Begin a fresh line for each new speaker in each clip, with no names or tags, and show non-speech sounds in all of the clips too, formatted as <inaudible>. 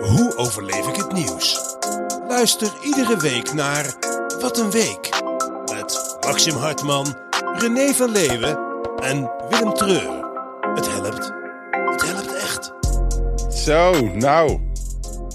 Hoe overleef ik het nieuws? Luister iedere week naar Wat een Week. Met Maxim Hartman, René van Leeuwen en Willem Treur. Het helpt. Het helpt echt.
Zo, nou.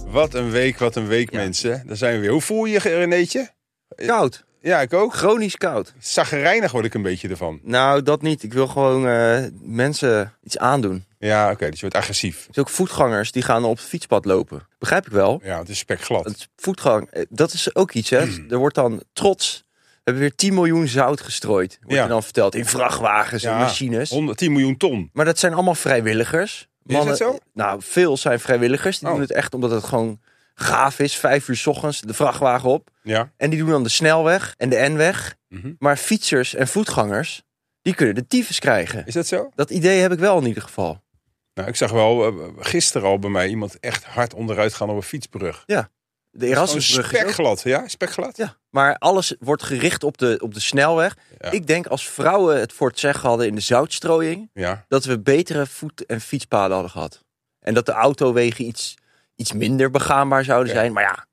Wat een week, wat een week,
Ja.
mensen. Daar zijn we weer. Hoe voel je je, Renéetje?
Koud.
Ja, ik ook.
Chronisch koud.
Zagrijnig word ik een beetje ervan.
Nou, dat niet. Ik wil gewoon eh, mensen iets aandoen.
Ja, oké, dus je wordt agressief.
Dus ook voetgangers die gaan op het fietspad lopen. Begrijp ik wel.
Ja, het is spekglad.
Het voetgang, eh, dat is ook iets,
<clears throat>
hè. Er wordt dan trots... We hebben weer 10 miljoen zout gestrooid, wordt
Ja.
je dan verteld. In vrachtwagens en
Ja,
machines.
110 miljoen ton.
Maar dat zijn allemaal vrijwilligers.
dat zo?
Nou, veel zijn vrijwilligers. Die
Oh.
doen het echt omdat het gewoon gaaf is. Vijf uur 's ochtends, de vrachtwagen op.
Ja.
En die doen dan de snelweg en de N-weg.
Mhm.
Maar fietsers en voetgangers, die kunnen de tyfus krijgen.
Is dat zo?
Dat idee heb ik wel in ieder geval.
Nou, ik zag wel eh, gisteren al bij mij iemand echt hard onderuit gaan op een fietsbrug.
De
Gewoon
Erasmusbrug is ook-
Spekglad, ja? Spekglad?
Ja, maar alles wordt gericht op de, op de snelweg.
Ja.
Ik denk als vrouwen het voor het zeggen hadden in de zoutstrooiing...
Ja.
dat we betere voet- en fietspaden hadden gehad. En dat de autowegen iets, iets minder begaanbaar zouden
Ja.
zijn. Maar ja,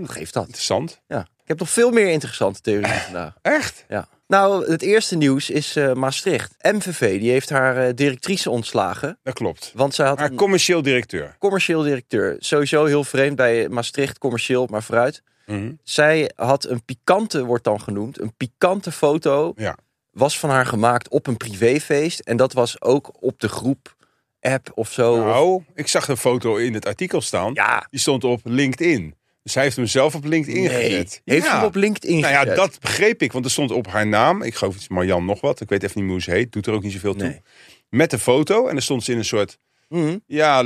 wat geeft dat?
Interessant.
Ja. Ik heb nog veel meer interessante theorieën
<clears throat>
vandaag.
Echt?
Ja. Nou, het eerste nieuws is eh, Maastricht. MVV die heeft haar eh, directrice ontslagen.
Dat klopt.
Want zij had
Maar
een-
commercieel directeur.
commercieel directeur. Sowieso heel vreemd bij Maastricht, commercieel, maar vooruit.
Mhm.
Zij had een pikante, wordt dan genoemd, een pikante foto.
Ja.
Was van haar gemaakt op een privéfeest. En dat was ook op de groep app of zo. Oh, Of-
Nou, ik zag een foto in het artikel staan.
ja,
Die stond op LinkedIn. Dus hij heeft hem zelf op LinkedIn
nee.
gezet.
Heeft
Ja.
hem op LinkedIn
Nou ja,
gezet.
dat begreep ik, want er stond op haar naam. Ik geloof iets Marjan nog wat. Ik weet even niet meer hoe ze heet. Doet er ook niet zoveel toe.
Nee.
Met de foto. En dan stond ze in een soort
Mhm.
ja,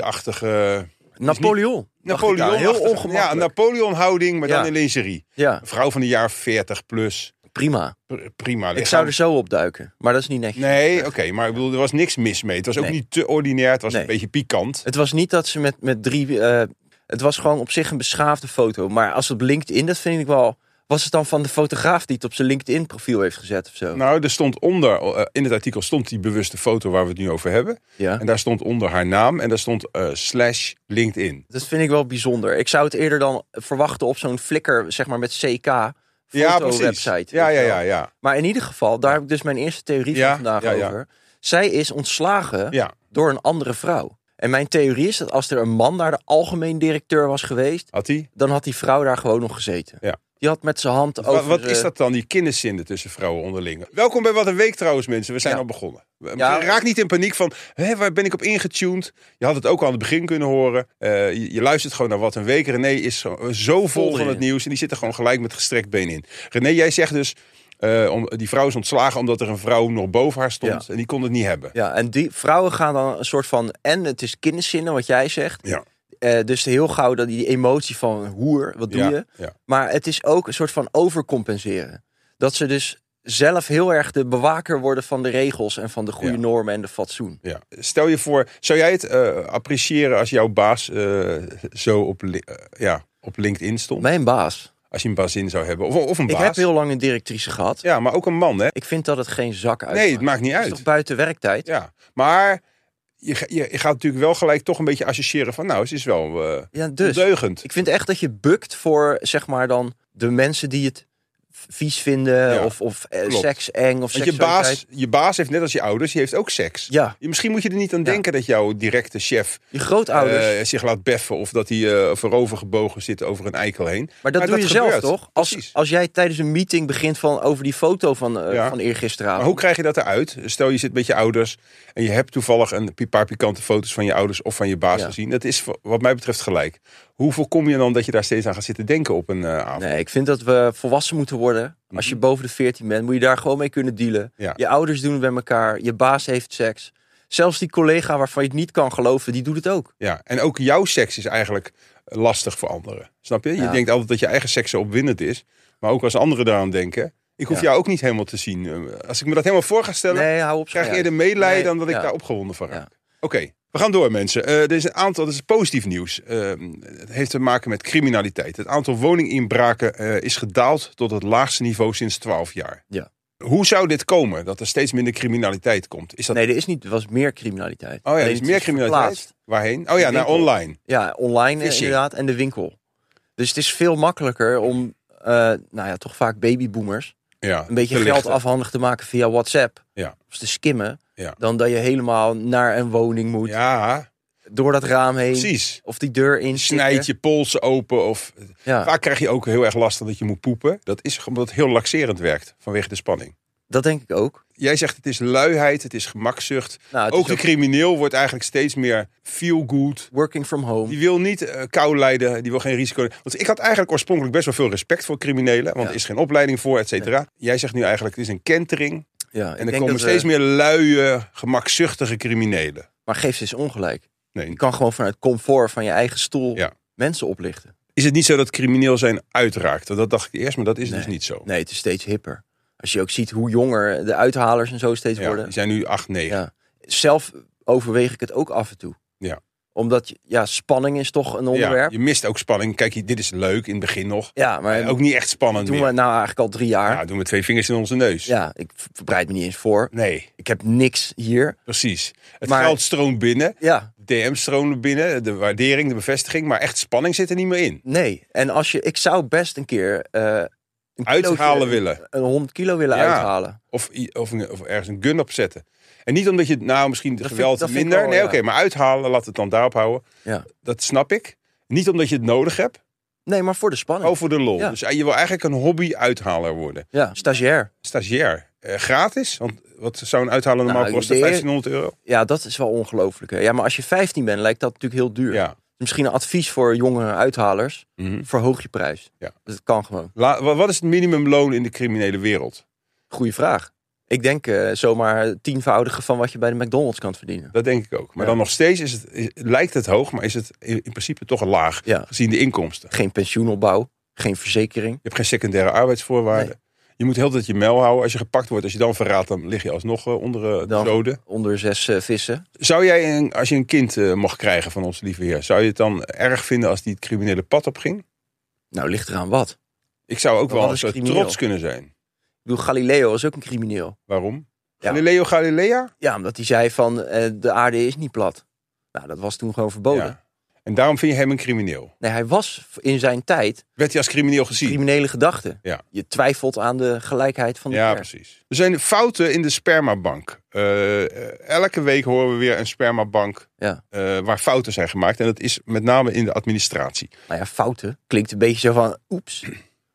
lingerie-achtige...
Napoleon. dacht ik aan.
Napoleon.
Heel
Ja,
ongemakkelijk.
Napoleon-houding, maar dan
Ja.
in lingerie.
Ja,
Een vrouw van de jaar 40 plus.
prima.
Pr- Prima.
Ik zou dus-
lichaam.
er zo op duiken. Maar dat is niet netjes.
Nee, oké, maar ik bedoel, er was niks mis mee. Het was ook
Nee.
niet te ordinair. Het was
Nee.
een beetje pikant.
Het was niet dat ze met, met drie. eh, het was gewoon op zich een beschaafde foto. Maar als het op LinkedIn, dat vind ik wel. Was het dan van de fotograaf die het op zijn LinkedIn-profiel heeft gezet of zo?
Nou, er stond onder, eh, in het artikel stond die bewuste foto waar we het nu over hebben.
ja.
En daar stond onder haar naam en daar stond eh, slash LinkedIn.
Dat vind ik wel bijzonder. Ik zou het eerder dan verwachten op zo'n Flickr, zeg maar met CK. Foto-website.
Ja, ja, ja, ja.
Maar in ieder geval, daar heb ik dus mijn eerste theorie
Ja,
van vandaag
ja, ja.
over. Zij is ontslagen
Ja,
door een andere vrouw. En mijn theorie is dat als er een man daar de algemeen directeur was geweest,
had hij?
dan had die vrouw daar gewoon nog gezeten.
Ja.
Die had met zijn hand
Wat,
over.
wat is
eh,
dat dan, die kinderzinden tussen vrouwen onderling? Welkom bij Wat een Week trouwens, mensen. We zijn
Ja.
al begonnen. We-
Ja.
Raak niet in paniek van, hè, waar ben ik op ingetuned? Je had het ook al aan het begin kunnen horen. Eh, je, je luistert gewoon naar Wat een Week. René is zo, eh, zo vol
Vol
van het
erin.
nieuws en die zit er gewoon gelijk met gestrekt been in. René, jij zegt dus, eh, om, die vrouw is ontslagen omdat er een vrouw nog boven haar stond. En die kon het niet hebben.
Ja, en die vrouwen gaan dan een soort van. En het is kinderzinnen, wat jij zegt.
Ja.
Eh, dus heel gauw dat die emotie van hoer, wat doe
ja,
je?
ja.
Maar het is ook een soort van overcompenseren. Dat ze dus zelf heel erg de bewaker worden van de regels en van de goede
Ja.
normen en de fatsoen.
Ja. Stel je voor, zou jij het eh, appreciëren als jouw baas eh, zo op, li- eh, ja, op LinkedIn stond?
Mijn baas.
Als je een bazin zou hebben. Of, of een
Ik
baas.
heb heel lang een directrice gehad.
Ja, maar ook een man, hè?
Ik vind dat het geen zak uit.
Nee, het maakt niet
Het is
uit.
toch buiten werktijd? Ja,
Ja, maar je, ga- je, je gaat natuurlijk wel gelijk toch een beetje associëren van... nou, ze is wel eh
dus.
ondeugend.
Ik vind echt dat je bukt voor, zeg maar dan, de mensen die het v- vies vinden.
Ja,
of of eh,
klopt.
seks eng of
Want je
seksualiteit.
baas, je baas heeft net als je ouders, die heeft ook seks.
Ja,
Je- Misschien moet je er niet aan
Ja.
denken dat jouw directe chef
je grootouders.
eh, zich laat beffen... of dat hij eh, voorovergebogen zit over een eikel heen.
maar dat
maar
doe
dat
je zelf
gebeurt.
toch?
Precies.
Als, als jij tijdens een meeting begint van, over die foto van, eh,
Ja.
van eergisteravond.
Maar Ah, hoe krijg je dat eruit? Stel, je zit met je ouders en je hebt toevallig een pi- paar pikante foto's van je ouders of van je baas
Ja.
gezien. Dat is voor- wat mij betreft gelijk. Hoe voorkom je dan dat je daar steeds aan gaat zitten denken op een eh, avond?
Nee, ik vind dat we volwassen moeten worden. Als je boven de 14 bent, moet je daar gewoon mee kunnen dealen.
Mhm. Ja.
Je ouders doen het bij elkaar, je baas heeft seks. Zelfs die collega waarvan je het niet kan geloven, die doet het ook.
Ja, en ook jouw seks is eigenlijk lastig voor anderen. Snap je? Je
Ja.
denkt altijd dat je eigen seks zo opwindend is. Maar ook als anderen daaraan denken. Ik hoef
Ja.
jou ook niet helemaal te zien. Eh, Als ik me dat helemaal voor ga stellen,
Nee, hou op.
krijg je
schei uit.
eerder medelijden
Nee,
dan dat ik
ja.
daar opgewonden van raak.
Ja.
Oké, we gaan door mensen. Eh, er is een aantal, dat is positief nieuws. Eh, het heeft te maken met criminaliteit. Het aantal woninginbraken eh, is gedaald tot het laagste niveau sinds 12 jaar.
Ja.
Hoe zou dit komen? Dat er steeds minder criminaliteit komt? Is dat...
Nee, er is niet, er was meer criminaliteit.
oh ja, er
Alleen
is
het
meer criminaliteit.
verplaatst.
Waarheen? Oh ja,
Ik
naar
denk wel.
online.
Ja, online eh,
Phishing.
inderdaad. En de winkel. Dus het is veel makkelijker om, eh, nou ja, toch vaak babyboomers...
Ja,
een beetje
te
geld
lichten.
afhandig te maken via WhatsApp.
Ja.
Of te skimmen.
Ja.
Dan dat je helemaal naar een woning moet.
Ja,
Door dat raam heen.
precies.
Of die deur in.
Snijd je polsen open of
Ja.
Vaak krijg je ook heel erg last van dat je moet poepen. Dat is omdat het heel laxerend werkt vanwege de spanning.
Dat denk ik ook.
Jij zegt het is luiheid, het is gemakzucht.
Nou, het
ook
is
de crimineel wordt eigenlijk steeds meer feel good.
working from home.
Die wil niet eh, kou lijden, die wil geen risico. Want ik had eigenlijk oorspronkelijk best wel veel respect voor criminelen, want
Ja.
er is geen opleiding voor, et cetera. Jij zegt nu eigenlijk het is een kentering
Ja,
en er komen steeds meer luie, gemakzuchtige criminelen.
eh, Maar geef ze eens ongelijk.
Nee.
Je kan gewoon vanuit comfort van je eigen stoel
Ja.
mensen oplichten. Want
Is het niet zo dat crimineel zijn uitraakt? Want Dat dacht ik eerst, maar dat is
Nee.
dus niet zo.
Nee, het is steeds hipper. Als je ook ziet hoe jonger de uithalers en zo steeds
Ja,
worden.
die zijn nu 8, 9.
Ja. Zelf overweeg ik het ook af en toe.
Ja.
Omdat, je- ja, spanning is toch een onderwerp.
Ja,
Ja,
je mist ook spanning. Kijk, dit is leuk in het begin nog.
maar
ook niet echt spannend
doen
meer.
we nou eigenlijk al drie jaar.
Ja, doen we twee vingers in onze neus.
Ja, ik v- bereid me niet eens voor.
Nee,
Ik heb niks hier.
precies. Het
Maar-
geld stroomt binnen.
Ja,
DM's stromen binnen. De waardering, de bevestiging. Maar echt spanning zit er niet meer in.
nee. En als je, ik zou best een keer eh, een
Uithalen
kilootje-
willen.
een 100 kilo willen
Ja.
uithalen.
Of, i- of, een- of ergens een gun opzetten. En niet omdat je, nou, misschien het
vind ik-
geweld
dat vind ik
minder.
wel,
nee,
ja.
oké, maar uithalen, laat het dan daarop houden.
Ja.
Dat snap ik. Niet omdat je het nodig hebt,
Nee, maar voor de spanning.
maar voor de lol.
Ja.
Dus eh, je wil eigenlijk een hobby-uithaler worden.
Ja, stagiair.
Stagiair, eh, gratis? Want wat zou een uithalen normaal
Nou,
kosten?
de eer-
1500 euro?
Ja, dat is wel ongelooflijk. hè. Ja, maar als je 15 bent, lijkt dat natuurlijk heel duur. Dus
Ja.
Misschien een advies voor jonge uithalers.
Mhm.
Verhoog je prijs.
Ja.
Dat kan gewoon.
La- wa- wat is het minimumloon in de criminele wereld?
Goeie vraag. Ik denk eh, zomaar het tienvoudige van wat je bij de McDonald's kan verdienen.
Dat denk ik ook. Maar
Ja.
dan nog steeds is het, is- lijkt het hoog, maar is het in, in principe toch laag.
Ja.
Gezien de inkomsten.
Geen pensioenopbouw. Geen verzekering.
Je hebt geen secundaire arbeidsvoorwaarden. Je moet heel de tijd je mel houden. Als je gepakt wordt, als je dan verraadt, dan lig je alsnog eh, onder eh, de
Dan-
zoden.
Onder zes eh, vissen.
Zou jij, een, als je een kind eh, mocht krijgen van onze lieve heer, zou je het dan erg vinden als die het criminele pad opging?
Nou, ligt eraan wat.
Ik zou ook
Maar
wel
wat is
zo
crimineel?
trots kunnen zijn.
Ik bedoel, Galileo was ook een crimineel.
Waarom?
Ja.
Galileo Galilea?
Ja, omdat hij zei van eh, de aarde is niet plat. Nou, dat was toen gewoon verboden.
Ja. En daarom vind je hem een crimineel.
Nee, hij was v- in zijn tijd
Werd hij als crimineel gezien?
criminele gedachten.
Ja.
Je twijfelt aan de gelijkheid van de
Ja,
pers.
precies. Er zijn fouten in de spermabank. Eh, eh, elke week horen we weer een spermabank
Ja.
eh, waar fouten zijn gemaakt. En dat is met name in de administratie.
Nou ja, fouten klinkt een beetje zo van oeps.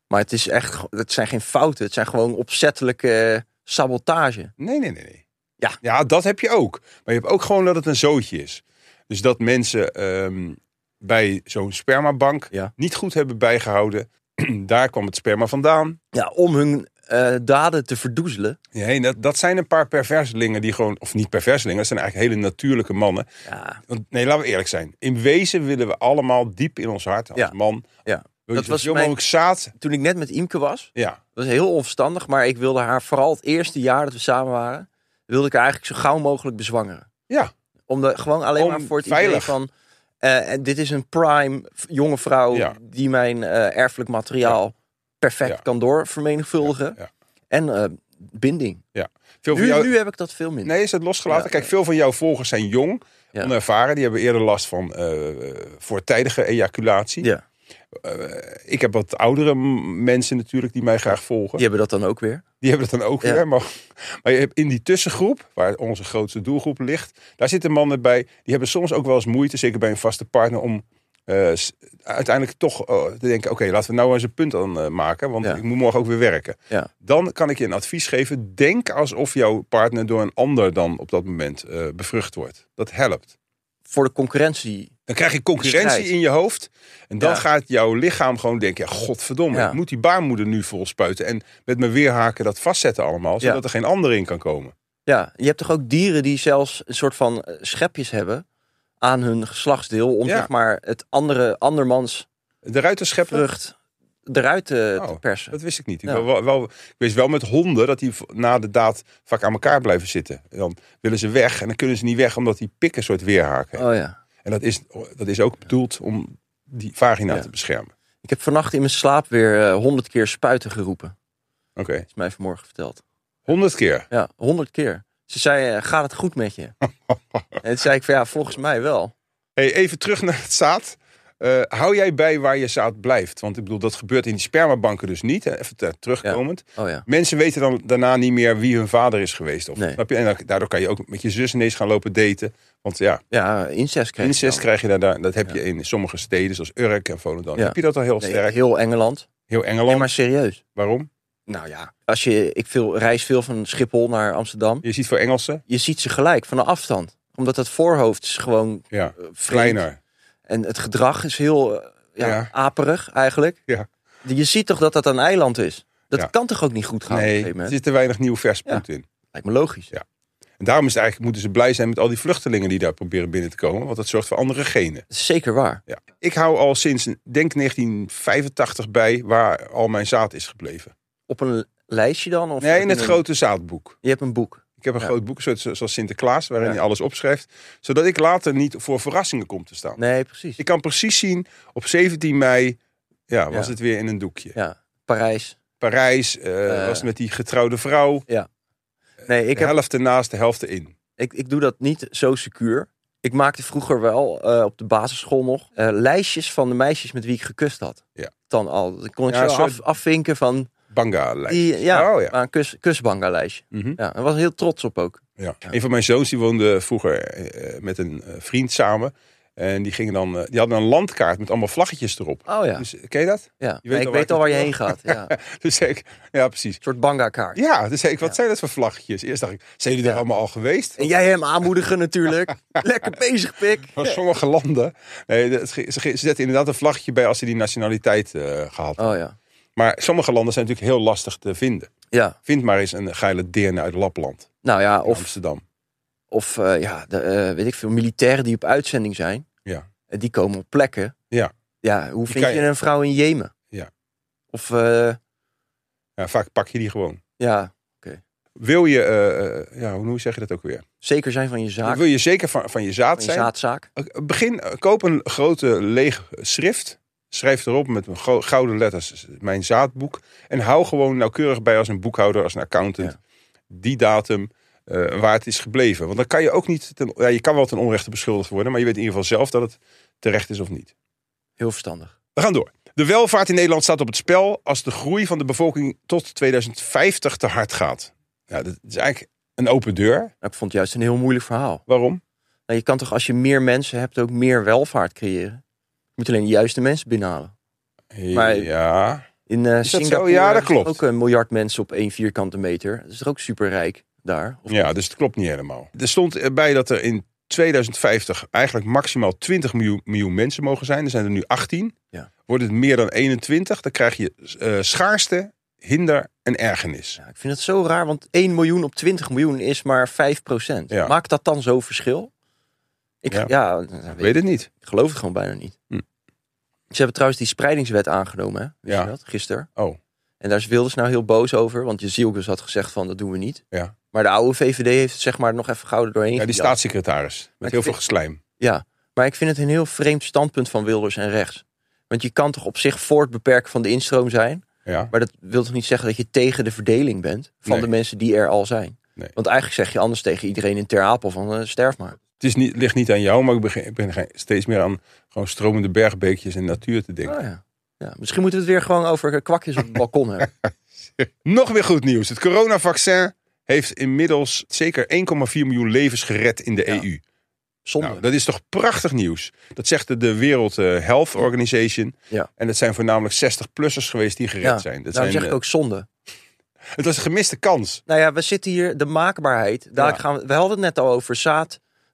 Maar het, is echt, ge- het zijn geen fouten. Het zijn gewoon opzettelijke eh, sabotage.
Nee, nee, nee. nee.
Ja.
ja, dat heb je ook. Maar je hebt ook gewoon dat het een zootje is. Dus dat mensen ehm, bij zo'n spermabank
Ja.
niet goed hebben bijgehouden. <clears throat> Daar kwam het sperma vandaan.
Ja, om hun eh, daden te verdoezelen.
Nee, dat, dat zijn een paar perverslingen die gewoon... Of niet perverslingen, dat zijn eigenlijk hele natuurlijke mannen.
Ja,
Want, nee, laten we eerlijk zijn. In wezen willen we allemaal diep in ons hart als
Ja.
man.
Ja.
Wil je
Dat
dat
was
zo
mijn-
mogelijk zaad.
toen ik net met Imke was,
Ja.
dat was heel onverstandig. Maar ik wilde haar vooral het eerste jaar dat we samen waren, wilde ik haar eigenlijk zo gauw mogelijk bezwangeren.
Ja.
Om de, gewoon alleen
Om
maar voor het idee
veilig.
van... eh, en dit is een prime v- jonge vrouw
Ja.
die mijn eh, erfelijk materiaal perfect
Ja.
kan doorvermenigvuldigen.
Ja.
En eh, binding.
Veel van
Nu,
jou...
nu heb ik dat veel minder.
Nee, is het losgelaten?
Ja.
Kijk, veel van jouw volgers zijn jong,
Ja.
onervaren. Die hebben eerder last van eh, voortijdige ejaculatie.
Ja.
Ik heb wat oudere m- mensen natuurlijk die mij graag volgen.
Die hebben dat dan ook weer.
Die hebben het dan ook
Ja.
weer. Maar, maar je hebt in die tussengroep, waar onze grootste doelgroep ligt, daar zitten mannen bij. Die hebben soms ook wel eens moeite, zeker bij een vaste partner, om eh, s- uiteindelijk toch eh, te denken: oké, laten we nou eens een punt aan eh, maken, want
Ja.
ik moet morgen ook weer werken.
Ja.
Dan kan ik je een advies geven: denk alsof jouw partner door een ander dan op dat moment eh, bevrucht wordt. Dat helpt.
Voor de concurrentie.
Dan krijg je concurrentie
Strijd.
in je hoofd. En dan
Ja.
gaat jouw lichaam gewoon denken: ja, godverdomme,
Ja.
ik moet die baarmoeder nu vol spuiten. En met mijn weerhaken dat vastzetten allemaal, zodat
Ja.
er geen ander in kan komen.
Ja, je hebt toch ook dieren die zelfs een soort van eh, schepjes hebben aan hun geslachtsdeel. Om
Ja.
zeg maar het andere, andermans
De ruiterscheppen?
vrucht eruit eh, te,
Oh,
te persen.
Dat wist ik niet. Ik,
Ja.
wel- wel, wel, ik wist wel met honden dat die v- na de daad vaak aan elkaar blijven zitten. En dan willen ze weg en dan kunnen ze niet weg omdat die pik een soort weerhaak heeft.
Oh ja.
En dat is, dat is ook bedoeld om die vagina
Ja.
te beschermen.
Ik eh, heb vannacht in mijn slaap weer honderd keer spuiten geroepen.
Oké,
Is mij vanmorgen verteld.
Honderd keer.
Ja, honderd keer. Ze zei, eh, gaat het goed
<laughs>
met je? en toen zei ik van, ja, volgens mij wel.
Hey, even terug naar het zaad. Eh, hou jij bij waar je zaad blijft? Want ik bedoel, dat gebeurt in die spermabanken dus niet. hè. Even ter- terugkomend.
Oh ja.
Mensen weten dan daarna niet meer wie hun vader is geweest. Of,
Nee.
snap je? En dan- daardoor kan je ook met je zus ineens gaan lopen daten. Want ja,
Ja, incest kreeg ik
incest
dan.
krijg je daar- daar. Dat heb je in sommige steden, zoals Urk en Volendam.
Ja.
Heb je dat al heel
Nee,
sterk?
heel Engeland.
Heel Engeland.
Nee, maar serieus.
Waarom?
Nou ja, als je, ik veel, reis veel van Schiphol naar Amsterdam.
Je ziet voor Engelsen?
Je ziet ze gelijk van de afstand. Omdat dat voorhoofd is gewoon
Ja.
eh, vreemd.
Kleiner.
En het gedrag is heel eh, ja,
Ja.
aperig eigenlijk.
Ja.
Je ziet toch dat dat een eiland is? Dat
Ja.
kan toch ook niet goed gaan? op een
Nee,
gegeven
er
moment?
zit te weinig nieuw vers bloed in.
Lijkt me logisch.
Ja. En daarom is het eigenlijk, moeten ze blij zijn met al die vluchtelingen die daar proberen binnen te komen. Want dat zorgt voor andere genen.
Dat is zeker waar.
Ja. Ik hou al sinds, denk 1985 bij waar al mijn zaad is gebleven.
Op een lijstje dan? Of
Nee, in het
een-
grote zaadboek.
Je hebt een boek.
Ik heb een
Ja.
groot boek, zo- zoals Sinterklaas, waarin
Ja.
hij alles opschrijft. Zodat ik later niet voor verrassingen kom te staan.
Nee, precies.
Ik kan precies zien, op 17 mei ja, was
Ja.
het weer in een doekje.
Ja, Parijs.
Parijs eh,
Eh.
was met die getrouwde vrouw.
Nee, ik,
de
heb,
helft ernaast, de helft erin.
ik, ik doe dat niet zo secuur. Ik maakte vroeger wel, eh, op de basisschool nog, eh, lijstjes van de meisjes met wie ik gekust had.
Ja.
Dan al. Dan kon ik
Ja,
zo
zo-
af- afvinken van
Banga-lijst.
die, ja,
Oh, ja.
maar een kus, kusbangalijstje.
Mhm.
Ja, daar was ik heel trots op ook.
Ja. Een van mijn zoons die woonde vroeger eh, met een eh, vriend samen. En die, gingen dan, eh, die hadden een landkaart met allemaal vlaggetjes erop.
Oh ja,
Dus, ken je dat?
ja.
je weet al
ik
waar
weet
het
al waar je heen
naartoe
gaat. Ja. Een
<laughs> Dus zei ik, ja precies.
soort banga-kaart.
Ja, dus zei ik, wat
Ja.
zijn dat voor vlaggetjes? Eerst dacht ik, zijn jullie
Ja.
er allemaal al geweest?
En jij hem aanmoedigen
<laughs>
natuurlijk. Lekker bezig, pik.
Maar sommige landen, nee, dat- ze, ze ze zetten inderdaad een vlaggetje bij als ze die nationaliteit eh gehad.
Oh ja.
Maar sommige landen zijn natuurlijk heel lastig te vinden.
Ja,
Vind maar eens een geile deerne uit Lapland,
nou ja,
of,
of
Amsterdam.
Of eh, ja, de, eh, weet ik veel, militairen die op uitzending zijn.
Ja.
En die komen op plekken.
Ja.
Ja, hoe vind
kan
je
je-
een vrouw in Jemen?
Ja.
Of eh,
Ja, vaak pak je die gewoon.
ja,
Wil je, eh, eh, ja, hoe zeg je dat ook weer?
zeker zijn van je zaak.
Wil je zeker van, van je zaad
Van je
zijn?
zaadzaak.
Begin, eh, koop een grote leeg schrift. Schrijf erop met een gro- gouden letters dus mijn zaadboek. En hou gewoon nauwkeurig bij als een boekhouder, als een accountant.
Ja.
Die datum eh, waar het is gebleven. Want dan kan je ook niet, ten- ja, je kan wel ten onrechte beschuldigd worden. Maar je weet in ieder geval zelf dat het terecht is of niet.
Heel verstandig.
We gaan door. De welvaart in Nederland staat op het spel als de groei van de bevolking tot 2050 te hard gaat. Ja, dat is eigenlijk een open deur.
Nou, ik vond het juist een heel moeilijk verhaal.
Waarom?
Nou, je kan toch als je meer mensen hebt ook meer welvaart creëren? Je moet alleen de juiste mensen binnenhalen. Maar-
ja.
In eh,
dat zo?
Singapore
Ja, dat
hebben ze
klopt.
ook een miljard mensen op één vierkante meter. Dat is toch ook superrijk daar? Of-
Ja, dus het klopt niet helemaal. Er stond erbij dat er in 2050 eigenlijk maximaal 20 miljoen, miljoen mensen mogen zijn. Er zijn er nu 18.
Ja.
Wordt het meer dan 21, dan krijg je eh, schaarste, hinder en ergernis.
Ja, ik vind het zo raar, want 1 miljoen op 20 miljoen is maar 5 procent.
Ja.
Maakt dat dan zo'n verschil? Ik,
Ja.
ja, dat
Ik
weet
weet het niet.
ik geloof het gewoon bijna niet.
Hm.
Ze hebben trouwens die spreidingswet aangenomen, hè? Wist
Ja.
je dat? Gisteren.
Oh,
En daar is Wilders nou heel boos over, want Jezielkus had gezegd van, dat doen we niet.
Ja.
Maar de oude VVD heeft het zeg maar nog even gouden doorheen
ja, die
gejast.
staatssecretaris. Met
ik
heel veel
vind-
geslijm.
Ja, maar ik vind het een heel vreemd standpunt van Wilders en rechts. Want je kan toch op zich voor het beperken van de instroom zijn,
Ja.
maar dat wil toch niet zeggen dat je tegen de verdeling bent van
Nee.
de mensen die er al zijn.
Nee.
Want eigenlijk zeg je anders tegen iedereen in Ter Apel van eh, sterf maar.
Het is niet, ligt niet aan jou, maar ik begin, ik ben ge- steeds meer aan gewoon stromende bergbeekjes en natuur te denken.
Ah, ja. Ja, misschien moeten we het weer gewoon over kwakjes op
<laughs>
het balkon hebben.
Nog weer goed nieuws. Het coronavaccin heeft inmiddels zeker 1,4 miljoen levens gered in de E
Ja.
EU.
Zonde.
Nou, dat is toch prachtig nieuws. Dat zegt de, de Wereld eh, Health Organization.
Ja.
En dat zijn voornamelijk 60-plussers geweest die gered
Ja,
zijn. Dat zijn,
Daarom zeg ik
eh,
ook zonde.
Het was een gemiste kans.
Nou ja, we zitten hier, de maakbaarheid. Daar
Ja.
gaan we, we hadden het net al over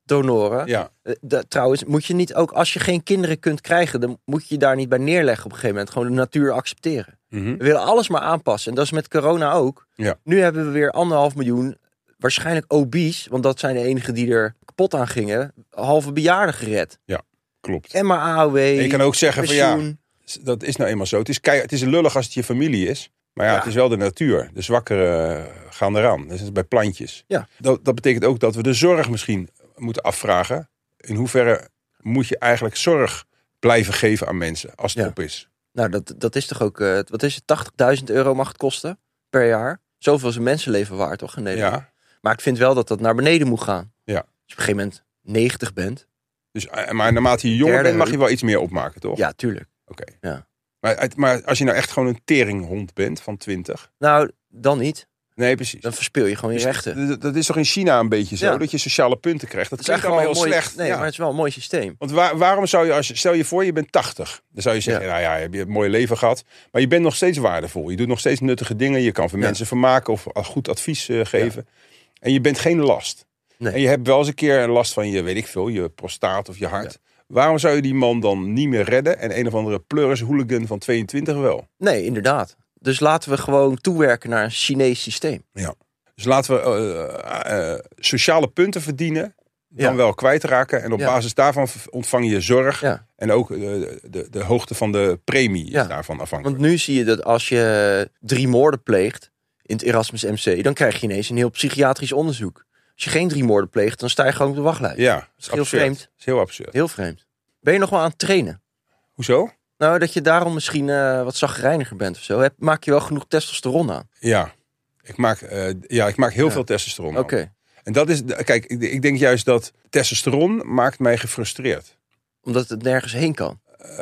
zaaddonoren.
Ja,
Eh, da- trouwens, moet je niet ook, als je geen kinderen kunt krijgen, dan moet je je daar niet bij neerleggen op een gegeven moment. Gewoon de natuur accepteren.
Mhm.
We willen alles maar aanpassen. En dat is met corona ook.
Ja.
Nu hebben we weer anderhalf miljoen, waarschijnlijk obese, want dat zijn de enigen die er kapot aan gingen, halve bejaarden gered.
klopt.
En maar AOW,
En je kan ook zeggen van ja,
pensioen.
s- dat is nou eenmaal zo. Het is, kei- het is lullig als het je familie is. Maar ja,
Ja.
het is wel de natuur. De zwakkeren eh, gaan eraan. Dat is bij plantjes.
Ja.
Dat, dat betekent ook dat we de zorg misschien moeten afvragen. In hoeverre moet je eigenlijk zorg blijven geven aan mensen als het
Ja.
op is?
Nou, dat, dat is toch ook, eh, wat is het, 80.000 euro mag het kosten per jaar. Zoveel is een mensenleven waard, toch? In Nederland.
Ja.
Maar ik vind wel dat dat naar beneden moet gaan.
Ja.
Als je op een gegeven moment 90 bent.
Dus, eh, maar naarmate je jonger
Derde
bent, mag je
hulp.
wel iets meer opmaken, toch?
Ja, tuurlijk.
Oké.
Ja.
Maar, uit- maar als je nou echt gewoon een teringhond bent van 20.
Nou, dan niet.
Nee, precies.
Dan verspeel je gewoon je
Dus
rechten.
d- d- Dat is toch in China een beetje zo?
Ja.
Dat je sociale punten krijgt. Dat,
Het
klinkt allemaal heel
een mooi,
slecht.
Nee,
ja.
maar het is wel een mooi systeem.
Want waar- waarom zou je, als je, stel je voor, je bent 80. Dan zou je zeggen, nou ja, heb je een mooi leven gehad. Maar je bent nog steeds waardevol. Je doet nog steeds nuttige dingen. Je kan van
Ja.
mensen vermaken of al goed advies eh, geven. En je bent geen last.
Nee.
En je hebt wel eens een keer een last van je, weet ik veel, je prostaat of je hart. Waarom zou je die man dan niet meer redden? En een of andere pleuris hooligan van 22 wel.
Nee, inderdaad. Dus laten we gewoon toewerken naar een Chinees systeem.
Dus laten we eh, eh, sociale punten verdienen. Dan
Ja.
wel kwijtraken. En op
Ja.
basis daarvan v- ontvang je zorg.
Ja.
En ook eh, de, de hoogte van de premie
Ja.
is daarvan afhankelijk.
Want nu zie je dat als je drie moorden pleegt in het Erasmus MC, dan krijg je ineens een heel psychiatrisch onderzoek. Als je geen drie moorden pleegt, dan sta je gewoon op de wachtlijst.
Ja, dat is
heel
absurd.
vreemd.
Dat is heel absurd.
Heel vreemd. Ben je nog wel aan het trainen?
Hoezo?
Nou, dat je daarom misschien eh, wat zagrijniger bent of zo. Heb, maak je wel genoeg testosteron aan?
Ja. Ik maak, eh, ja, ik maak heel
Ja.
veel testosteron.
Oké.
man. En dat is, kijk, ik, ik denk juist dat testosteron maakt mij gefrustreerd.
Omdat het nergens heen kan.
Eh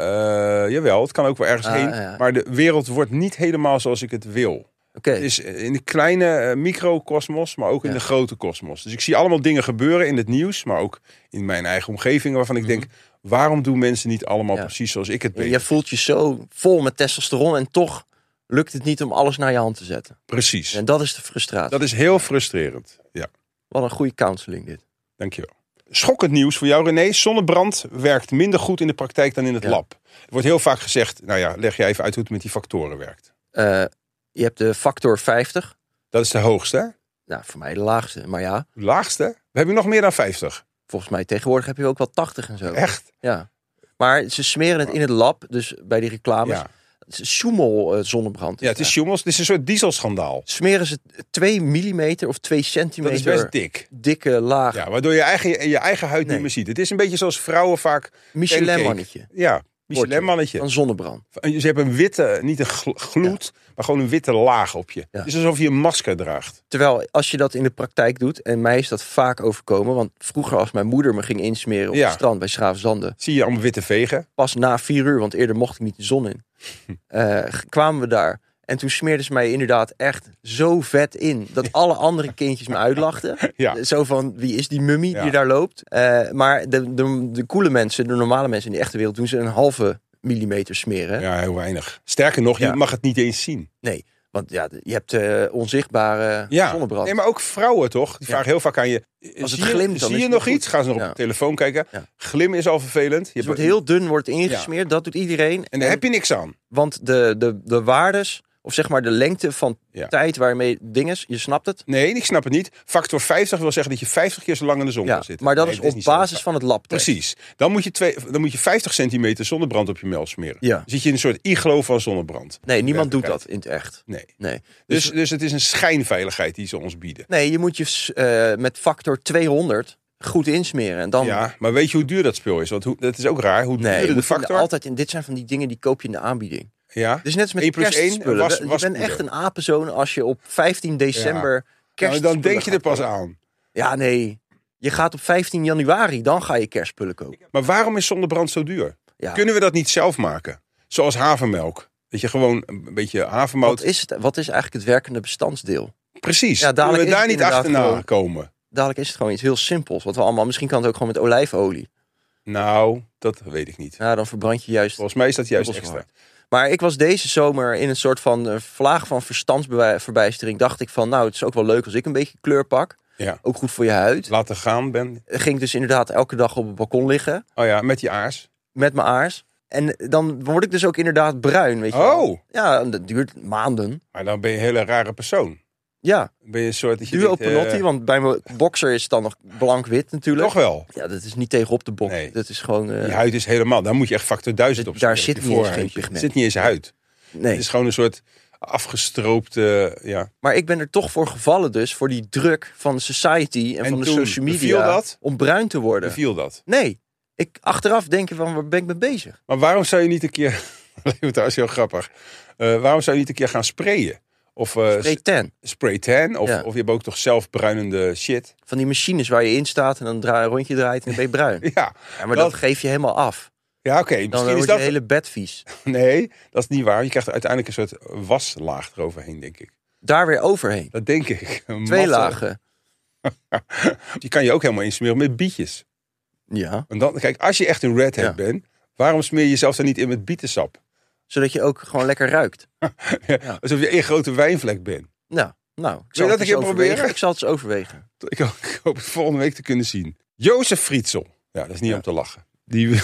jawel, het kan ook wel ergens
Ah,
heen.
ja.
Maar de wereld wordt niet helemaal zoals ik het wil.
Oké.
Het is in de kleine eh, microcosmos, maar ook in
Ja.
de grote kosmos. Dus ik zie allemaal dingen gebeuren in het nieuws, maar ook in mijn eigen omgeving, waarvan ik denk, waarom doen mensen niet allemaal
Mhm. Ja.
precies zoals ik het ben?
Je voelt je zo vol met testosteron en toch lukt het niet om alles naar je hand te zetten.
Precies.
En dat is de frustratie.
Dat is heel frustrerend. Ja.
Wat een goede counseling dit.
Dankjewel. Schokkend nieuws voor jou, René. Zonnebrand werkt minder goed in de praktijk dan in het
Ja.
lab. Er wordt heel vaak gezegd, nou ja, leg jij even uit hoe het met die factoren werkt.
Eh, je hebt de factor 50.
Dat is de hoogste, hè?
Nou, voor mij de laagste. Maar ja,
Laagste? We hebben nog meer dan 50.
volgens mij tegenwoordig heb je ook wel 80 en zo.
Echt?
Ja. Maar ze smeren het in het lab, dus bij die reclames.
Ja.
Het is Schoemel eh, zonnebrand.
ja, het is
Ja.
Sjoemels. Het is een soort dieselschandaal.
Smeren ze 2 mm of 2
Dat
centimeter
is best dik.
dikke laag
Ja, waardoor je eigen, je eigen huid
Nee.
niet meer ziet. Het is een beetje zoals vrouwen vaak...
Michelin-mannetje
Ja, Michelin-mannetje.
van zonnebrand.
Ze hebben een witte, niet een gl- gloed, maar gewoon een witte laag op je.
Ja.
Het is alsof je een masker draagt.
Terwijl als je dat in de praktijk doet, en mij is dat vaak overkomen, want vroeger als mijn moeder me ging insmeren op
Ja.
het strand bij Schravenzanden,
Zie je allemaal witte vegen?
pas na vier uur, want eerder mocht ik niet de zon
<laughs>
in, eh, g- kwamen we daar. En toen smeerden ze mij inderdaad echt zo vet in
<laughs>
dat alle andere kindjes me uitlachten.
Ja.
Zo van wie is die mummie
Ja.
die daar loopt? Eh, maar de, de, de coole mensen, de normale mensen in de echte wereld, doen ze een halve millimeter smeren.
Ja, heel weinig. Sterker nog,
Ja.
je mag het niet eens zien.
Nee, want ja, je hebt eh, onzichtbare
Ja.
zonnebrand.
Nee, maar ook vrouwen toch? Die vragen heel vaak aan je.
Als het
zie je-
glimt, dan is
zie
het
je
niet
nog
goed.
iets? Gaan ze nog
Ja.
op de telefoon kijken?
Ja.
Glimmen is al vervelend. Je
Dus Het wordt
hebt-
heel dun wordt ingesmeerd, dat doet iedereen.
En daar heb je niks aan.
Want de, de, de waardes, of zeg maar de lengte van
Ja.
tijd waarmee dingen, je snapt het.
Nee, ik snap het niet. Factor 50 wil zeggen dat je 50 keer zo lang in de zon
Ja,
kan zitten.
maar dat
Nee,
is
het
op
niet zo.
basis van het lab.
Precies. Dan moet, je twee, dan moet je 50 centimeter zonnebrand op je mel smeren.
Ja.
Dan zit je in een soort iglo van zonnebrand.
Nee, niemand doet dat
Werkelijkheid.
in het echt.
Nee.
Nee,
Dus, dus het is een schijnveiligheid die ze ons bieden.
nee je moet je s- eh, met factor 200 goed insmeren. En dan,
Ja, maar weet je hoe duur dat spul is? Want hoe, dat is ook raar. Hoe
nee, je
duurder de
moet
factor?
altijd in, dit zijn van die dingen die koop je in de aanbieding.
Ja.
Dus net als met
Eén plus één,
kerstspullen.
was-
je
was
bent
poeder.
echt een apenzoon als je op 15 december
Nou,
kerstspullen
dan denk je er
gaat
pas
kopen.
aan.
Ja, nee. Je gaat op 15 januari, dan ga je kerstspullen kopen.
Maar waarom is zonnebrand zo duur?
Ja.
Kunnen we dat niet zelf maken? Zoals havermelk. Dat je gewoon een beetje havermout...
Wat is, het, wat is eigenlijk het werkende bestandsdeel?
Precies.
Ja, dadelijk
Kunnen we
is
daar
het
niet
inderdaad
achterna
gewoon-
komen?
Dadelijk is het gewoon iets heel simpels. Wat we allemaal, misschien kan het ook gewoon met olijfolie.
Nou, dat weet ik niet.
Ja, dan verbrand je juist.
Volgens mij is dat juist
dubbel zo
extra.
hard. Maar ik was deze zomer in een soort van eh, vlaag van verstandsverbijstering. Dacht ik van, nou, het is ook wel leuk als ik een beetje kleur pak.
Ja.
Ook goed voor je huid.
Laten gaan, Ben.
Ging ik dus inderdaad elke dag op het balkon liggen
Oh ja, met die aars.
met mijn aars. En dan word ik dus ook inderdaad bruin, weet je wel.
Oh,
Ja, en dat duurt maanden.
maar dan ben je een hele rare persoon.
Ja,
Dan Ben je een soort... Dat je
duo
denkt, eh,
penotti, want bij mijn boxer is het dan nog blank-wit natuurlijk.
Toch wel.
Ja, dat is niet tegenop de bok.
Nee.
Dat is gewoon... eh,
Je huid is helemaal... Daar moet je echt factor 1000 op smeren,
Daar zit
je
niet eens
voorhuidje.
geen pigment.
zit niet eens huid.
nee.
Het is gewoon een soort afgestroopte... Ja.
Maar ik ben er toch voor gevallen dus, voor die druk van de society en,
En
van de
toen
social
beviel
media
dat?
om bruin te worden.
Beviel dat.
Nee, ik achteraf denk ik van waar ben ik mee bezig?
<laughs> Maar waarom zou je niet een keer. dat is heel grappig. Eh, waarom zou je niet een keer gaan sprayen? Of eh,
Spray tan.
s- spray tan. Of,
Ja.
of je hebt ook toch zelfbruinende shit. <laughs>
Van die machines waar je in staat en dan draai, een rondje draait en dan ben je bruin.
<laughs> Ja,
Ja, maar dat
Dat-
geef je helemaal af.
ja oké.
Dan
Misschien
wordt
is
je
dat...
hele bed vies.
Nee, dat is niet waar. Je krijgt er uiteindelijk een soort waslaag eroverheen, denk ik.
Daar weer overheen.
Dat denk ik. <laughs> Een
Twee
matte-
lagen.
Die kan je ook helemaal insmeren met bietjes.
Ja.
En dan, kijk, als je echt een redhead
Ja.
bent, waarom smeer je jezelf dan niet in met bietensap? <laughs>
Zodat je ook gewoon lekker ruikt.
Alsof je één grote wijnvlek bent.
Nou, nou. Ik
Wil
zal
je dat
het
een
eens
keer proberen?
overwegen. Ik zal het eens overwegen.
<laughs> Ik hoop, ik hoop het volgende week te kunnen zien. Jozef Frietsel. Ja, dat is niet
Ja.
om te lachen. Die, wil-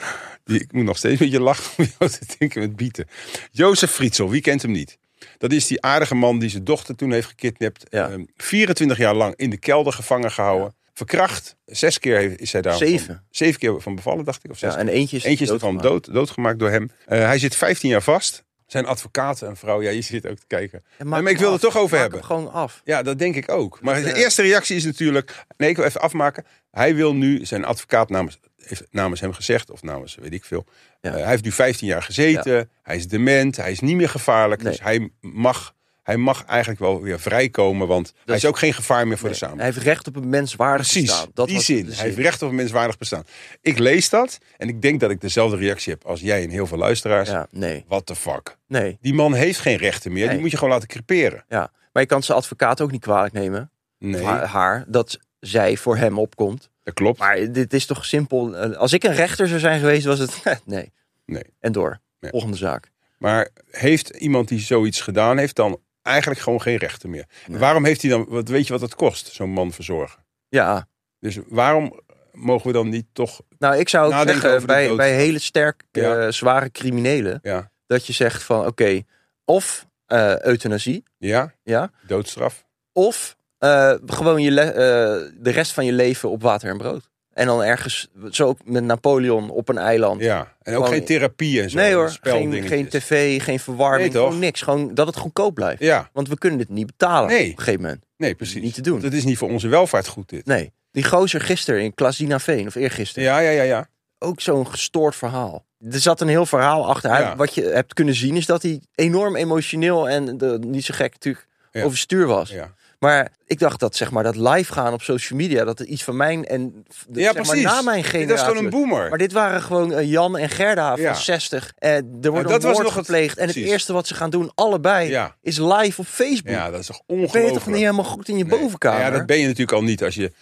<laughs> die, ik moet nog steeds een beetje lachen om jou te denken met bieten. Jozef Frietsel, wie kent hem niet? Dat is die aardige man die zijn dochter toen heeft gekidnapt.
Ja.
ehm, 24 jaar lang in de kelder gevangen gehouden. Verkracht. Zes keer heeft- is hij daar.
Zeven.
zeven keer van bevallen, dacht ik. Of zes
Ja, en eentje is,
Eentje is ervan
doodgemaakt.
dood, doodgemaakt door hem. Eh, hij zit 15 jaar vast. Zijn advocaat, een vrouw, ja, je zit ook te kijken.
Ja,
maar
maak
ik wil
hem
het toch
af.
over
Maak
hebben.
hem gewoon af.
Ja, dat denk ik ook. Maar de
eh,
eerste reactie is natuurlijk... Nee, ik wil even afmaken. Hij wil nu, zijn advocaat namens, heeft namens hem gezegd... of namens weet ik veel.
Ja.
eh, hij heeft nu 15 jaar gezeten. Hij is dement. Hij is niet meer gevaarlijk.
Nee.
Dus hij mag, hij mag eigenlijk wel weer vrijkomen. Want hij is
is-
ook geen gevaar meer voor de
Nee,
samenleving.
Hij heeft recht op een menswaardig
Precies,
bestaan. Dat dus
die
was
zin.
de
Hij heeft recht op een menswaardig bestaan. Ik lees dat en ik denk dat ik dezelfde reactie heb als jij en heel veel luisteraars.
Ja, nee.
What the fuck?
Nee.
Die man heeft geen rechten meer.
Nee.
Die moet je gewoon laten creperen.
Ja. Maar je kan zijn advocaat ook niet kwalijk nemen.
Nee,
Of Haar, haar, dat zij voor hem opkomt.
dat klopt.
Maar dit is toch simpel. eh, Als ik een rechter zou zijn geweest, was het. <laughs> eh, Nee.
Nee.
En door.
Nee.
Volgende zaak.
Maar heeft iemand die zoiets gedaan heeft dan eigenlijk gewoon geen rechten meer? En
Nee.
Waarom heeft hij dan, wat weet je wat dat kost, zo'n man verzorgen?
Ja.
Dus waarom mogen we dan niet toch,
Nou, ik zou ook
Nadenken over
zeggen
de
bij,
dood.
bij hele sterk eh,
Ja.
zware criminelen.
ja,
Dat je zegt van oké, of eh, euthanasie.
ja
Ja.
doodstraf?
Of eh, gewoon je le- eh, de rest van je leven op water en brood. En dan ergens, zo ook met Napoleon op een eiland.
Ja, en ook
Gewoon-
geen therapie en zo.
nee hoor, geen,
speldingetjes.
geen tv, geen verwarming,
Nee, toch?
gewoon niks. Gewoon dat het goedkoop blijft.
Ja,
Want we kunnen dit niet betalen
Nee.
op een gegeven moment.
nee, precies.
Niet te doen.
Dat is niet voor onze welvaart goed dit.
Nee, die gozer gisteren in Klasina Veen, of eergisteren.
Ja, ja, ja, ja.
Ook zo'n gestoord verhaal. Er zat een heel verhaal achter. Hij-
Ja.
Wat je hebt kunnen zien is dat hij enorm emotioneel en eh, niet zo gek natuurlijk
Ja.
overstuur was.
ja.
Maar ik dacht dat zeg maar dat live gaan op social media, dat er iets van mijn en f- de-
Ja,
zeg maar,
precies.
na mijn
Dit
generatie.
is gewoon een
was.
boomer.
Maar dit waren gewoon eh, Jan en Gerda van
Ja.
60. Eh, er wordt
dat
een
was
moord
nog het-
gepleegd. en het
precies.
eerste wat ze gaan doen, allebei,
Ja.
is live op Facebook.
Ja, dat is toch
ben je toch niet
ongelooflijk.
helemaal goed in je
Nee.
bovenkamer?
Ja, dat ben je natuurlijk al niet als je